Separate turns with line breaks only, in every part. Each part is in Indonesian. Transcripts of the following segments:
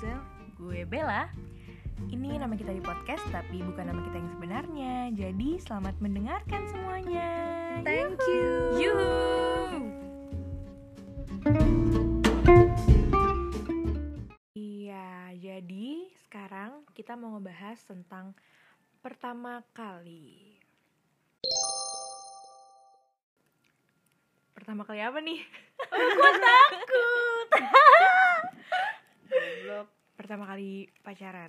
Ya, gue Bella. Ini nama kita di podcast tapi bukan nama kita yang sebenarnya. Jadi selamat mendengarkan semuanya.
Thank you.
Yuhu. Iya, jadi sekarang kita mau ngebahas tentang pertama kali. Pertama kali apa nih?
Goblok.
pertama kali pacaran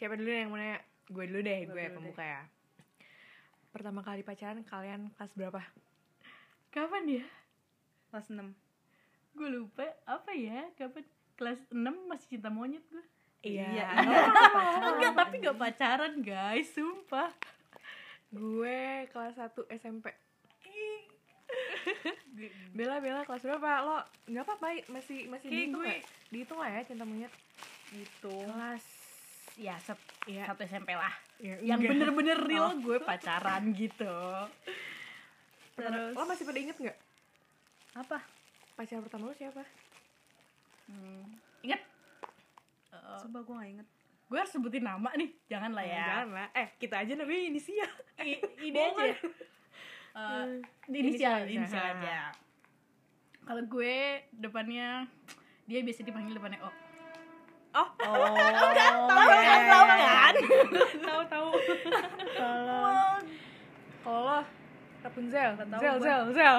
siapa dulu yang mau nanya gue dulu deh
Lo
gue
dulu
pembuka ya pertama kali pacaran kalian kelas berapa kapan ya
Kelas 6.
gue lupa apa ya kapan kelas 6 masih cinta monyet gue
iya
Iya.
enggak tapi gak pacaran guys sumpah
gue kelas 1 SMP Bella Bella kelas berapa lo nggak apa-apa masih masih
Kayak
dihitung
gue-
nggak? dihitung lah ya cinta monyet
gitu
kelas
ya sep-
ya,
satu SMP lah
ya,
yang
enggak.
bener-bener real
Oh.
gue pacaran gitu
Pertama-
terus
lo masih pada inget nggak
apa
pacar pertama lo siapa
hmm, inget Eh,
Coba gue gak inget.
gue harus sebutin nama nih jangan lah ya
Jangan lah eh kita aja namanya inisial
I- ini
Bohong
aja ya. Eh, inisial ya. inisial aja kalau gue depannya dia biasa dipanggil depannya O
oh
Oh,
tahu kan tahu kan
tahu tahu kalau lo, Rapunzel
Nggak tahu
Zel
gua.
Zel Zel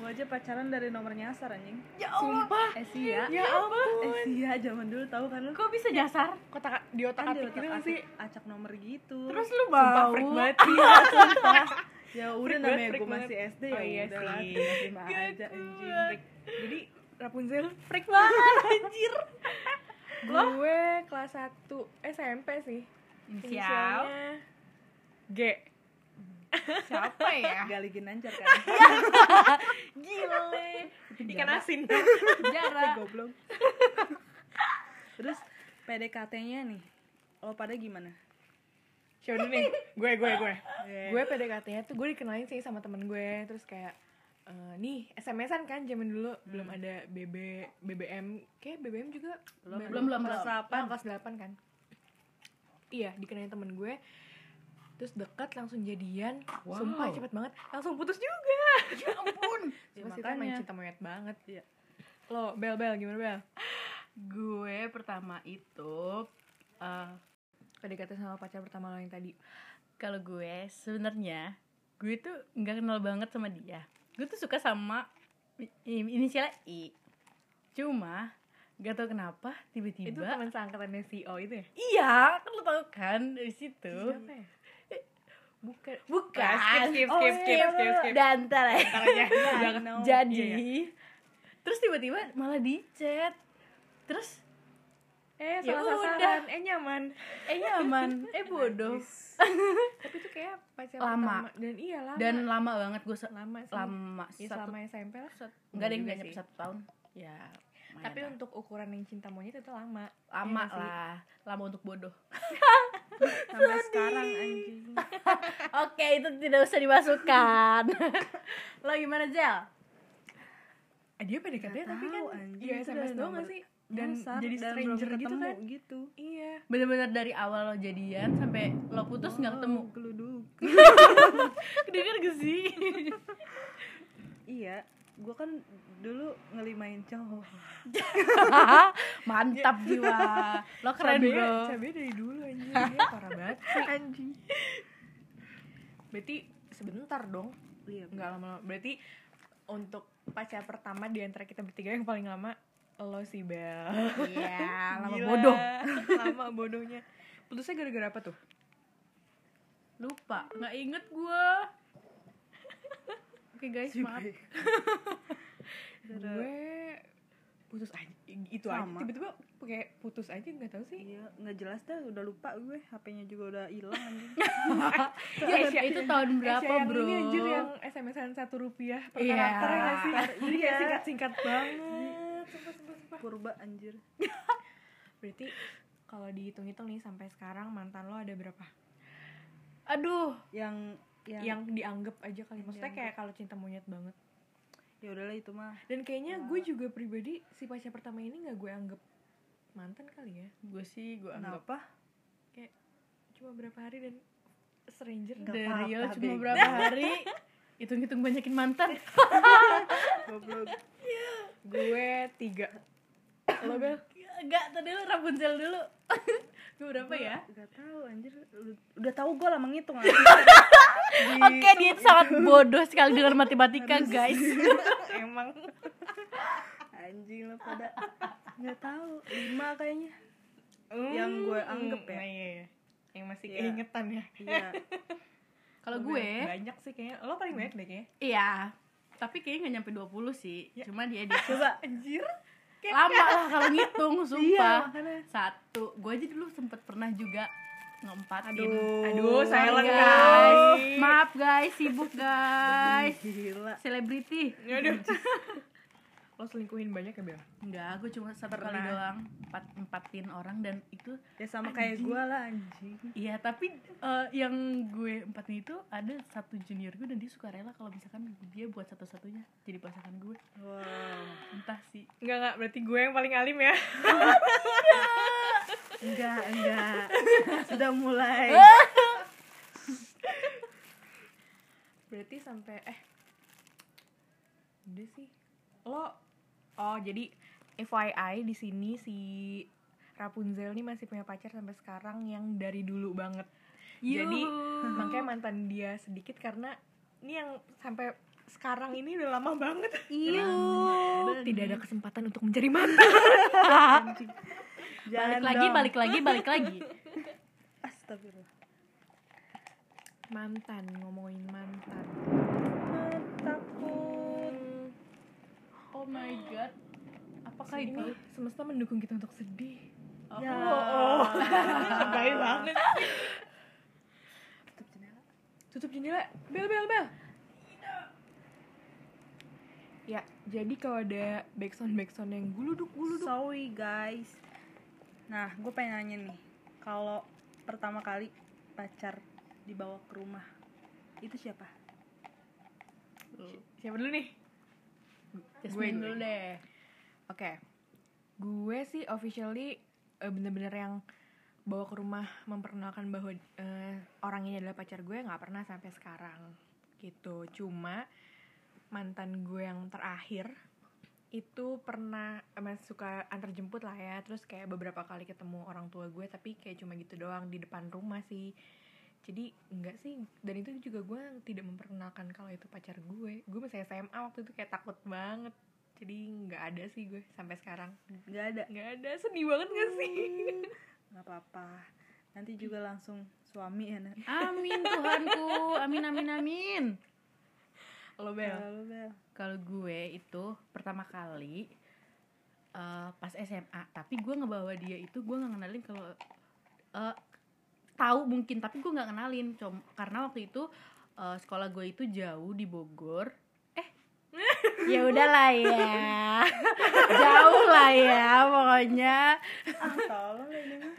Gue aja pacaran dari nomor nyasar anjing. Eh,
ya Allah
sumpah
Esia.
Oh, ya ampun
Esia Eh, zaman dulu tahu kan lu.
kok bisa nyasar
kotak di otak
Kan dia
atik gitu
otak-atik,
sih
acak nomor gitu.
terus lu
sumpah
bau
freak banget
Iya, sumpah. Ya
Freak
udah
banget,
namanya
freak
gue masih SD ya
Oh, iya
udah lah.
sih.
Terima aja
Gak
anjing.
kuat. jadi Rapunzel freak banget anjir gue kelas 1 SMP sih
inisial
inisialnya G
siapa
Ah.
ya
Gali Ginanjar kan.
gile
ikan asin
Eh,
jarak
goblok. Terus PDKT-nya nih. Lo pada gimana?
Coba dulu nih, gue, gue, gue
Eh.
Gue PDKT-nya tuh gue dikenalin sih sama temen gue Terus kayak, eh, nih SMS-an kan zaman dulu
Hmm.
Belum ada BB, BBM Kayak BBM juga
belum, belum.
Kelas
Belum.
8, kelas 8 kan Iya, dikenalin temen gue Terus deket langsung jadian
Wow.
Sumpah cepet banget Langsung putus juga
ya ampun
Ya,
Cuma sih kan main
makanya.
cinta monyet banget
Iya.
Lo, Bel, Bel, gimana Bel?
gue pertama itu eh,
PDKT sama pacar pertama lo yang tadi
kalau gue sebenarnya gue tuh nggak kenal banget sama dia gue tuh suka sama i- i- inisialnya I cuma gak tau kenapa tiba-tiba
Itu teman seangkatannya CEO itu ya?
iya kan lo tau kan dari situ
Siapa ya? Bukan
bukan
Ah,
Oh,
Skip, skip, skip, skip, skip, skip.
dantar ya
Ntar aja
Jangan. No.
jadi
Iya,
terus tiba-tiba malah di chat terus
Eh,
Ya
salah sasaran,
udah.
eh nyaman
eh nyaman eh bodoh
Tapi itu kayak pacar
Lama.
pertama Dan iya lama
dan lama banget gue
Lama sih
lama
Ya
satu
selama SMP lah
nggak ada yang
juga
nggak nyampe
sih.
satu tahun ya lumayan
Tapi
lah.
untuk ukuran yang cinta monyet itu lama
lama
iya sih.
lah lama untuk bodoh
Sampai sekarang anjing.
oke itu tidak usah dimasukkan lo gimana Jel
eh, Dia PDKT
Nggak
tapi kan
tahu, anjing.
Iya
Itu
SMS
dari
doang
nomor
gak sih? Dan
Nyasar
jadi
dan belum
stranger gitu
ketemu
kan
gitu.
Iya
bener-bener dari awal lo jadian sampai lo putus nggak ketemu
Oh, Geluduk.
kedengar gak sih
Iya, gue kan dulu ngelimain cowok.
mantap
Iya.
jiwa lo keren
Cabenya-
bro
cabenya dari dulu anjir Iya parah banget
Anjing.
Berarti sebentar dong
Iya,
Nggak lama-lama Berarti untuk pacar pertama di antara kita bertiga yang paling lama Lo sih Bel
iya lama
Gila.
bodoh
lama bodohnya putusnya gara-gara apa tuh
lupa nggak inget gue oke guys maaf
gue putus aja itu aja
Sama.
tiba-tiba kayak putus aja nggak tahu sih
Iya, nggak jelas dah, udah lupa gue. HP-nya juga udah hilang anjing.
Iya,
itu, itu tahun berapa
Asia yang
bro
Eh, ini anjir ya. yang SMS-an satu rupiah per
Iya.
karakter ya nggak sih jadi kayak
Iya.
singkat-singkat banget sumpah, sumpah, sumpah.
Purba anjir.
berarti kalau dihitung-hitung nih sampai sekarang mantan lo ada berapa
aduh
Yang yang,
Iya. yang dianggap aja kali maksudnya
Dianggap.
kayak kalau cinta monyet banget
ya udahlah itu mah.
Iya. dan kayaknya gue juga pribadi si pacar pertama ini nggak gue anggap mantan kali ya
gue sih gue
Nah,
anggap
Kenapa?
kayak cuma berapa hari dan stranger gitu.
Nggak
dari
apa-apa,
Rio cuma
Beb.
berapa hari hitung-hitung banyakin mantan
goblok gue tiga lo bel
enggak tadi lu Rapunzel dulu gue berapa ya
Gak tahu anjir. Udah tahu gue lah menghitung Gitu. anjir.
oke dia itu sangat bodoh sekali dengan matematika guys
emang
Anjing lah pada. Gak tahu. Lima kayaknya. Yang gue anggap ya.
Hmm, iya, iya. yang masih
Iya.
keingetan ya
Iya.
kalau
Lo,
gue
Bel, banyak sih kayaknya lo paling banyak deh kayaknya
iya tapi kayaknya nggak nyampe 20 sih cuma dia di
Coba.
anjir
lama lah kalau ngitung
Iya,
sumpah
makanya.
satu gue aja dulu sempet pernah juga ngempatin
Aduh.
Aduh,
Sorry,
silent,
guys.
guys.
maaf guys sibuk guys
Gila.
selebriti
Aduh. lo selingkuhin banyak ya bel
Enggak, gue cuma satu kali
Pernah.
doang empat, empatin orang dan itu
Ya sama kayak gue lah anjing.
Iya tapi eh, yang gue empatin itu ada satu junior gue dan dia suka rela kalau misalkan dia buat satu-satunya jadi pasangan gue
Wow.
entah sih
Enggak, enggak, berarti gue yang paling alim ya
Enggak, enggak. Sudah mulai.
Berarti sampai eh udah sih. Lo oh jadi FYI di sini si Rapunzel nih masih punya pacar sampai sekarang yang dari dulu banget. Jadi
Yuhu.
makanya mantan dia sedikit karena ini yang sampai sekarang ini udah lama banget.
Iya.
Tidak ada kesempatan untuk mencari mantan.
Jangan
balik lagi
dong.
balik lagi balik lagi
Astagfirullah.
Mantan ngomongin mantan.
Takut.
oh my god apakah itu
Ini semesta mendukung kita untuk sedih.
Oh.
Ya.
Oh, baik banget.
Tutup jendela.
tutup jendela bel bel bel ya jadi kalau ada backsound backsound yang guluduk guluduk
Sorry guys. Nah, gue pengen nanya nih, kalau pertama kali pacar dibawa ke rumah, itu siapa?
siapa dulu nih Gue-
Jasmine dulu deh
oke gue sih officially eh, bener-bener yang bawa ke rumah memperkenalkan bahwa eh, orang ini adalah pacar gue nggak pernah sampai sekarang gitu cuma mantan gue yang terakhir itu pernah emang suka antar jemput lah ya terus kayak beberapa kali ketemu orang tua gue tapi kayak cuma gitu doang di depan rumah sih jadi enggak sih dan itu juga gue tidak memperkenalkan kalau itu pacar gue gue masih SMA waktu itu kayak takut banget jadi nggak ada sih gue sampai sekarang
Gak ada.
nggak ada sedih banget gak sih
Hmm,
Gak apa-apa. Nanti juga langsung suami ya. Nat.
amin Tuhanku amin amin amin
lo
Halo, Bel.
Kalau gue itu pertama kali eh, pas SMA, tapi gue ngebawa dia itu gue nggak kenalin kalau eh, tahu mungkin, tapi gue nggak kenalin, Com- karena waktu itu eh, sekolah gue itu jauh di Bogor. Eh, ya udahlah ya, jauh lah ya, pokoknya
Ah, tolong ini mah.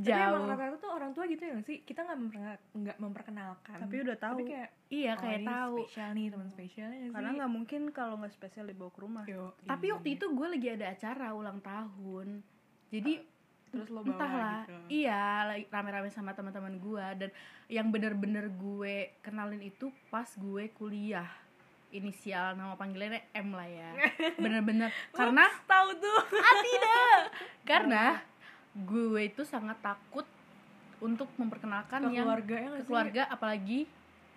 Tapi emang
jauh.
rata-rata tuh orang tua gitu ya nggak sih kita nggak memperkenal- nggak memperkenalkan
Tapi udah tahu.
tapi kayak
Iya
oh,
kayak
ini
tahu.
spesial nih teman spesialnya nggak sih
Karena nggak mungkin kalau nggak spesial dibawa ke rumah.
Yo,
Tapi
iya.
waktu itu gue lagi ada acara ulang tahun, jadi
terus lo bawa
entahlah
gitu
iya lagi rame-rame sama teman-teman gue dan yang bener-bener gue kenalin itu pas gue kuliah inisial nama panggilannya M lah ya bener-bener karena
tahu tuh
karena gue itu sangat takut untuk memperkenalkan
ke
yang
keluarga ya
ke
nggak sih?
keluarga apalagi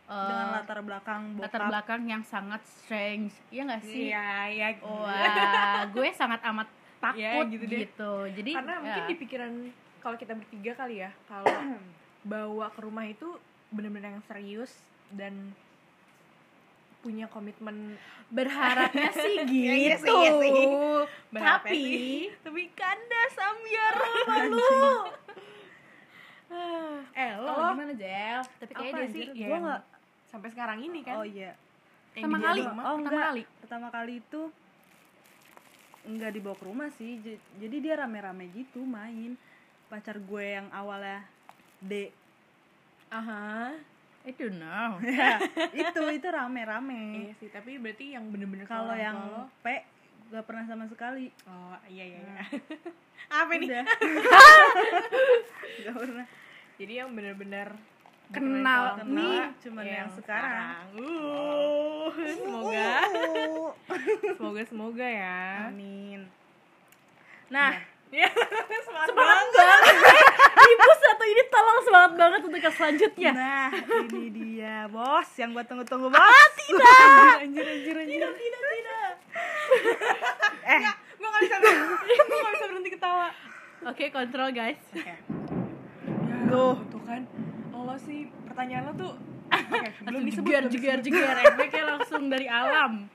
eh,
Dengan latar belakang bokap.
latar belakang yang sangat strange iya gak sih
iya iya
wah gue sangat amat takut
Iya, gitu
gitu,
deh.
jadi
karena mungkin
ya.
di pikiran kalau kita bertiga kali ya kalau bawa ke rumah itu bener-bener yang serius dan punya komitmen
berharapnya sih gitu
Ya, iya sih, iya sih. Berharapnya
tapi
sih.
tapi kandas ambiar
ah,
eh lo
Lo?
gimana Jel tapi
Apa,
kayaknya dia sih
anjir?
ya,
Gue nggak.
sampai sekarang ini kan
Oh iya.
yang
pertama
dibawa
kali
ke rumah.
Oh,
pertama
enggak.
kali
pertama kali itu nggak dibawa ke rumah sih j- jadi dia rame-rame gitu main pacar gue yang awalnya D
aha
I don't know
Ya, itu itu
iya
rame-rame
sih Iya tapi berarti yang bener-bener
Hmm. kalau
orang
yang
tua lo,
P gak pernah sama sekali
Oh iya iya. iya. Apa nih?
udah gak pernah
Jadi yang benar-benar
Kenal
benar-benar
kenal
nih.
cuman yang, sekarang,
Uh, semoga
Uh.
semoga semoga ya.
amin nah
Iya.
Ya, semangat.
Ibu satu ini tolong semangat banget untuk yang selanjutnya.
Nah, ini dia bos yang gua tunggu-tunggu bos. Ah, tidak. Anjir, anjir, anjir. Tidak, tidak, tidak. eh,
Gue gak bisa berhenti, gue gak bisa berhenti ketawa.
Oke, kontrol guys.
Ya,
Tuh.
tuh kan. Lo sih pertanyaan lo tuh Oke, belum
Langsung
disebut.
jeger,
belum
jeger,
disebut.
jeger. Efeknya langsung dari alam.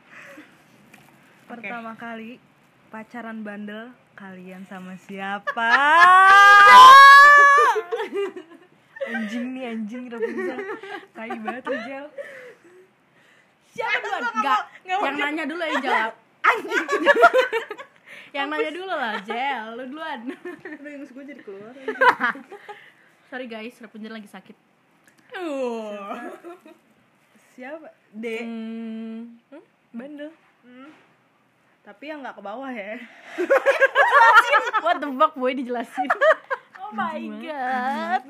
pertama kali pacaran bandel kalian sama siapa?
Anjing nih anjing Rapunzel. Tai banget tuh, Jel.
Siapa duluan? Enggak. Yang nanya dulu yang jawab. Anjing. yang nanya dulu lah, Jel. Lu duluan.
Aduh, yang gue jadi keluar.
Sorry guys, Rapunzel lagi sakit.
Uh.
Siapa? D.
Hmm. hmm, Bandel.
Tapi yang nggak ke bawah ya.
What the fuck, boy dijelasin. Oh my god.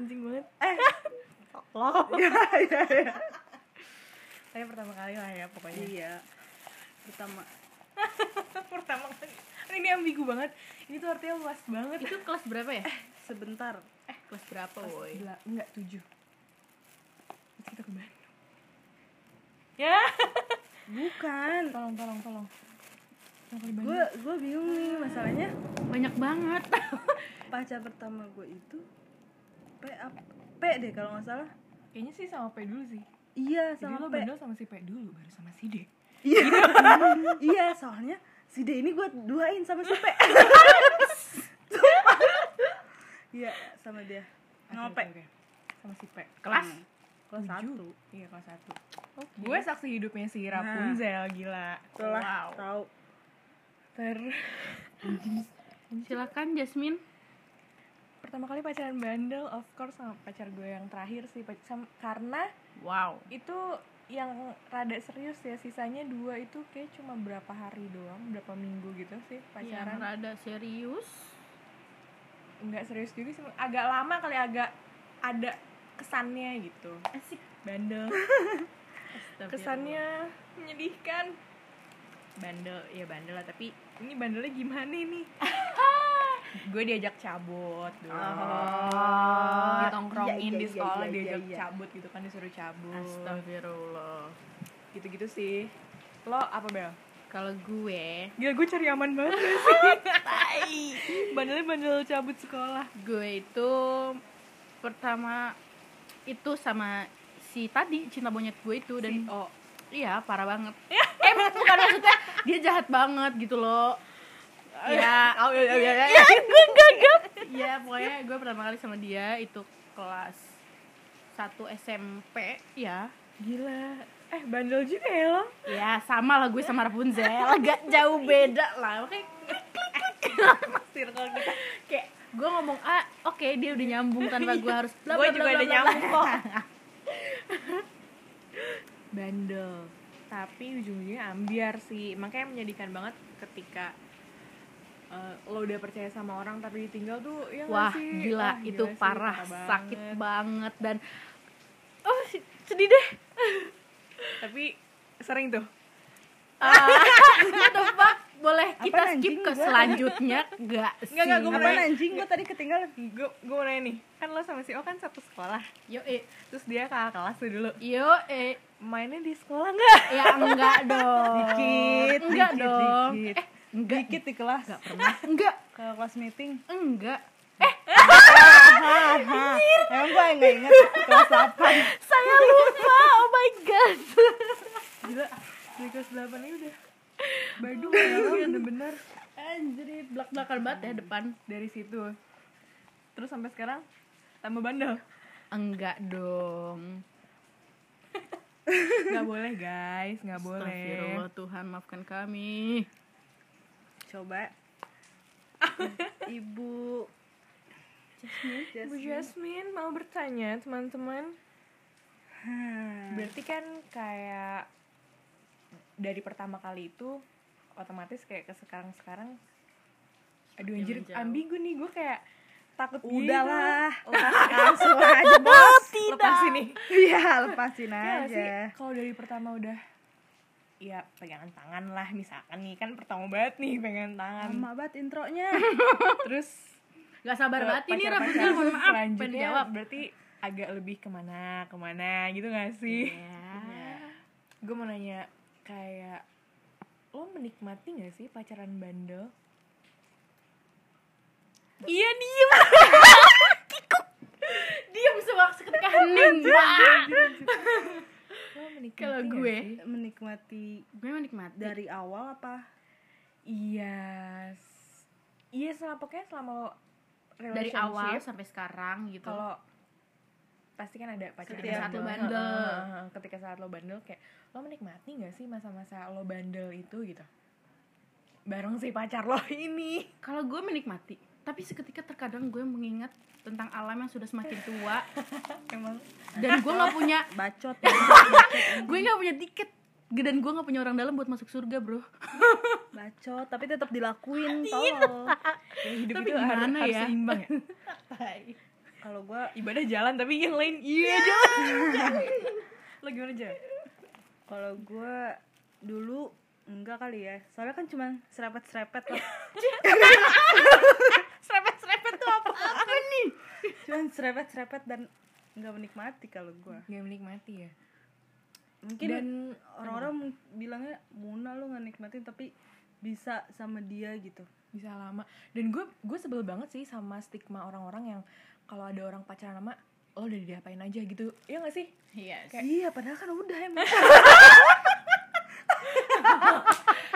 Anjing banget.
Loh. Iya, iya, iya.
Saya pertama kali lah ya pokoknya.
Iya. Pertama
pertama kali. Kan Ini ambigu banget. Ini tuh artinya luas banget.
Itu kelas berapa ya?
sebentar.
Eh, kelas berapa, boy?
Gila, enggak tujuh. Terus kita ke Bandung. Ya.
Bukan.
Tolong, tolong, tolong. Pertama kali Bandung.
Gue gue bingung nih masalahnya.
Banyak banget.
pacar pertama gue itu P ap- P deh kalau nggak salah
Kayaknya sih sama P dulu sih.
iya
Jadi
sama
lo
P
Bandung sama si P dulu, baru sama si D.
iya iya soalnya si D ini gue duain sama si P Sumpah. iya sama dia sama
Oke, oke,
P
oke. Sama si P.
Kelas?
Hmm. kelas
Tujuh.
satu
Iya, kelas satu. Gue saksi hidupnya si Rapunzel, gila.
setelah
Wow.
tahu
Ter
Silakan Jasmine.
pertama kali pacaran bandel of course sama pacar gue yang terakhir sih pac- sam- karena
Wow.
itu yang rada serius ya sisanya dua itu kayak cuma berapa hari doang berapa minggu gitu sih
Yang
pacaran
rada serius.
nggak serius juga sih agak lama kali agak ada kesannya gitu
Asik.
bandel
Kesannya
kesannya menyedihkan bandel ya bandel lah tapi ini bandelnya gimana nih gue diajak cabut dong
Oh.
Ah. ditongkrongin
Iya, iya,
di
iya,
sekolah
iya, iya,
diajak
iya.
cabut gitu kan disuruh cabut
Astagfirullah.
gitu-gitu sih lo apa bel
Kalau gue,
gila gue Ya, cari aman banget gak sih bandelnya bandel cabut sekolah
gue itu pertama itu sama si tadi cinta monyet gue itu dan
oh
iya parah banget. eh bukan maksudnya dia jahat banget gitu loh. Ya,
oh, iya, iya, iya.
Iya, pokoknya gue pertama kali sama dia itu kelas 1 SMP, ya.
gila eh bandel juga ya lo
Ya, sama lah gue sama Rapunzel, agak jauh beda lah. Oke,
circle kita
kayak gue ngomong A, Ah, oke dia udah nyambung tanpa gue harus bla
Gue
bla
juga
bla
ada
bla bla.
nyambung kok. bandel tapi ujungnya ambiar sih makanya menyedihkan banget ketika eh, lo udah percaya sama orang tapi ditinggal tuh ya nggak
Wah,
sih?
gila,
Wah,
itu
sih,
parah,
parah
sakit
banget.
banget dan oh sedih deh.
tapi sering tuh
Ah, what the fuck? Boleh kita
Apaan
skip
anjing
ke
gua?
selanjutnya enggak sih?
Nggak, nggak, gua
apa
mau nanya.
anjing gue tadi ketinggalan
gue gue mau nanya nih kan lo sama si O kan satu sekolah
Yo eh,
terus dia kakak kelas tuh dulu
yo eh.
mainnya di sekolah nggak
Ya enggak dong.
Dikit,
enggak
dikit,
dong.
dikit.
Eh, enggak.
dikit di kelas
Enggak pernah. Enggak.
ke kelas meeting
Enggak.
Hahaha. emang gue nggak inget kelas apa
Saya lupa. Oh my god.
gila dari kelas delapan ini udah Badung
Oh,
ya
iya.
lo bener-bener
Anjir, belak-belakan banget ya depan.
dari situ terus sampai sekarang tambah bandel
Enggak dong.
nggak boleh guys nggak boleh
Astagfirullah Tuhan maafkan kami.
coba ibu
Bu Jasmine mau bertanya teman-teman
Hmm.
Hmm. berarti kan kayak dari pertama kali itu otomatis kayak ke sekarang sekarang aduh
Semakin
anjir
menjauh.
ambigu nih gue kayak takut
Udahlah,
gitu.
lepas langsung aja bos.
lepas ini
Iya, lepasin
Iya nggak
aja.
sih kalau dari pertama udah ya pegangan tangan lah misalkan nih kan pertama banget nih pegangan tangan
Lama banget intronya.
terus
Gak sabar
ke
banget ini
pacar-pacar
rambutnya mohon maaf pengen
Eh, selanjutnya
jawab
berarti agak lebih kemana kemana gitu gak sih
Iya.
gue mau nanya kayak lo menikmati gak sih pacaran bandel
Iya diem Kikuk Diem sewak seketika hening Wah.
lo menikmati
Kalau
nggak
gue,
Iya sih?
Menikmati
Gue menikmati
dari awal apa?
iya s- iya selama pokoknya selama lo
Dari
relationship,
awal sampai sekarang gitu
kalau pasti kan ada pacaran
Ketika saat lo bandel.
Heeh, ketika saat lo bandel kayak lo menikmati gak sih masa-masa lo bandel itu gitu bareng si pacar lo ini
Kalau gue menikmati Tapi seketika terkadang gue mengingat tentang alam yang sudah semakin tua
emang
Dan gue gak punya
Bacot.
Gue gak punya tiket Dan gue gak punya orang dalam buat masuk surga bro
Bacot, tapi tetap dilakuin tolong.
ya hidup
Tapi
itu har-
gimana
harus
ya?
seimbang ya
Kalau gua
ibadah jalan tapi yang lain iya jalan lo gimana aja
kalau gua dulu enggak kali ya. Soalnya kan cuman serepet-serepet lah.
serempet-serempet tuh apa
Apa nih?
Cuman serepet-serempet dan enggak menikmati kalau gua.
gak menikmati ya
Mungkin
dan
orang-orang bilangnya Muna lu nggak nikmatin tapi bisa sama dia gitu
bisa lama dan gue gue sebel banget sih sama stigma orang-orang yang kalau ada orang pacaran lama lo udah diapain aja gitu iya gak sih
Yes
iya padahal kan udah emang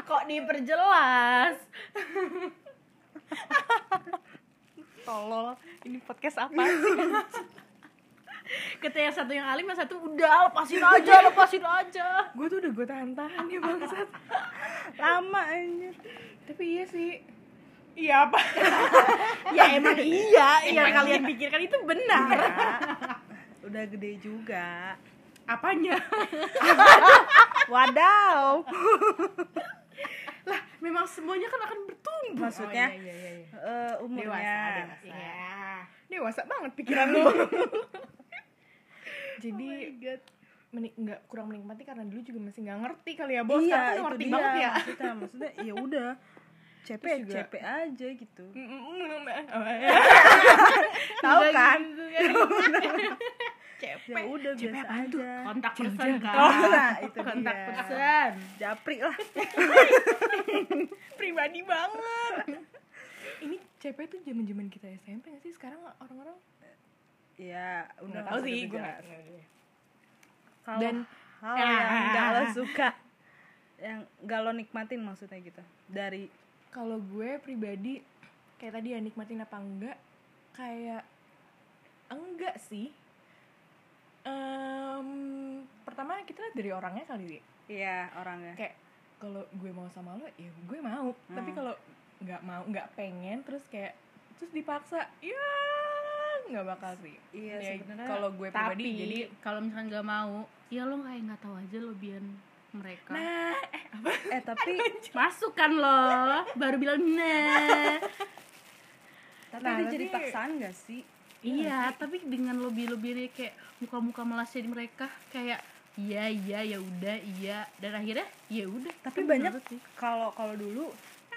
Kok diperjelas?
tolol ini podcast apa sih
Ketika yang satu yang alim yang satu udah lepasin aja lepasin aja
gue tuh udah gue tahan-tahan ya bangsat
lama anjir
tapi iya sih iya apa
ya emang iya yang kalian pikirkan itu benar
Iya. udah gede juga
apanya
wadaw
lah memang semuanya kan akan bertumbuh
Maksudnya?
iya, iya, iya.
Eh, umurnya Iya,
dewasa.
ya
dewasa banget pikiran lo jadi menik nggak kurang menikmati karena dulu juga masih nggak ngerti kali ya bos
iya
Sekarang kan
itu
ngerti
dia
banget ya
maksudnya maksudnya ya udah CP
Terus juga- Iya,
CP aja gitu
tahu kan
gitu
ya udah
CP
biasa
apaan tuh?
aja
kontak person kan Iya.
Oh, nah, itu
kontak
dia.
person
japri lah
pribadi banget ini CP tuh zaman zaman kita SMP nggak sih sekarang orang-orang
ya udah
nggak tahu
pasti
sih
beda.
gue nggak
kalau
Dan- Ah.
hal yang nggak lo suka yang nggak lo nikmatin maksudnya gitu dari
kalau gue pribadi kayak tadi ya nikmatin apa enggak kayak enggak sih Em, pertama kita lihat dari orangnya kali sih
Iya orangnya.
kayak kalau gue mau sama lo ya gue mau tapi
Hmm.
kalau nggak mau nggak pengen terus kayak terus dipaksa ya nggak bakal sih
Iya
Ya,
sebenarnya.
kalau gue pribadi
tapi
jadi
kalau misalkan nggak mau ya lo kayak nggak tahu aja lo biar mereka
nah
Eh tapi
masuk kan lo baru bilang nah
tapi
Nah,
itu jadi
tapi-
paksaan gak sih?
Iya, tapi dengan lebih-lebih kayak muka-muka melasnya di mereka kayak iya iya ya udah iya dan akhirnya ya udah.
Tapi
Itu
banyak
menurut sih.
kalau kalau dulu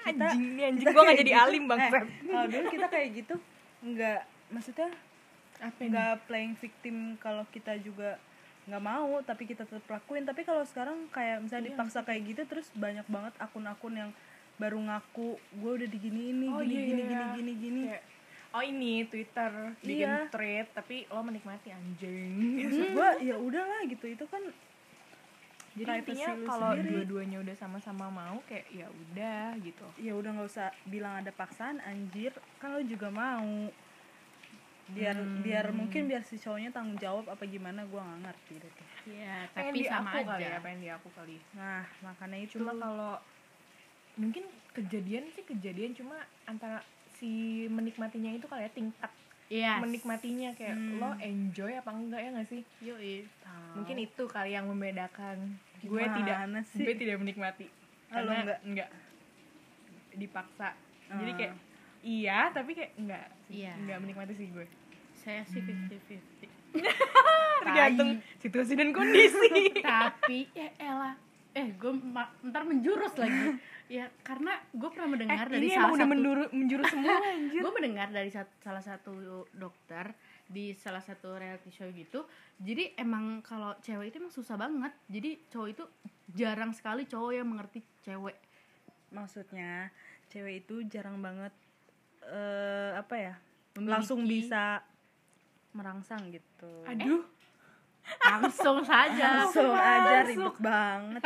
kita
anjing nih anjing
kita
gue nggak
kayak
jadi
gitu.
alim bang
Eh, kalau dulu kita kayak gitu nggak maksudnya
apa nih?
nggak playing victim kalau kita juga nggak mau tapi kita tetap lakuin tapi kalau sekarang kayak
Iya.
misalnya dipaksa kayak gitu terus banyak banget akun-akun yang baru ngaku gue udah diginiin nih
Oh,
gini,
iya,
gini,
iya,
gini
iya.
gini gini
Kayak, oh ini Twitter bikin
Iya.
thread tapi lo menikmati anjing
maksud gue ya udahlah gitu itu kan
jadi
Privacy
intinya
lu
kalau
sendiri.
dua-duanya udah sama-sama mau kayak ya udah gitu
ya udah nggak usah bilang ada paksaan anjir kan lo juga mau biar
Hmm.
biar mungkin biar si cowoknya tanggung jawab apa gimana gua nggak ngerti deh tuh.
Iya,
pengen
tapi
di
sama
aku
aja.
kali ya pengen di aku kali
nah makanya itu
cuma kalau mungkin kejadian sih kejadian cuma antara si menikmatinya itu kali ya tingkat
Iya.
menikmatinya kayak
Hmm.
lo enjoy apa enggak ya nggak sih
Yoi.
Tahu.
mungkin itu kali yang membedakan gue
Gimana
tidak
sih?
gue tidak menikmati
Ah,
karena
lo enggak?
enggak dipaksa jadi
Ah.
kayak iya tapi kayak enggak
Iya.
enggak menikmati sih gue
saya sih 50-50
Hmm. tergantung situasi dan kondisi
tapi ya elah eh gue ma- ntar menjurus lagi ya karena gue pernah mendengar
Eh,
dari
ini emang udah
salah
gitu.
satu
menjuru- menjurus semua anjir
gue mendengar dari sat- salah satu dokter di salah satu reality show gitu jadi emang kalau cewek itu emang susah banget jadi cowok itu jarang sekali cowok yang mengerti cewek
maksudnya cewek itu jarang banget eh apa ya
Memiliki.
langsung bisa merangsang gitu
aduh
langsung saja
langsung aja ribet banget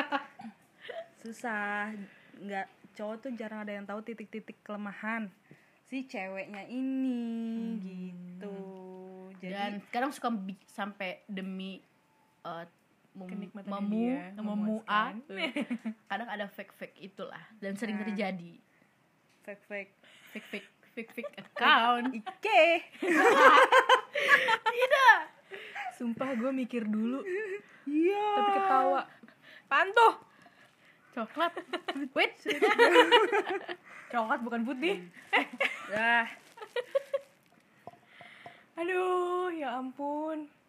susah nggak cowok tuh jarang ada yang tahu titik-titik kelemahan si ceweknya ini gitu
dan
jadi
kadang suka bi- sampai demi eh, mem-
Kenikmatan
memu
dia,
memua
memuaskan.
kadang ada fake fake itulah dan sering
Nah.
terjadi
fake fake
fake fake fake fake account
ike
sumpah gue mikir dulu
iya
tapi ketawa pantuh
coklat wait
coklat bukan putih
dah
aduh ya ampun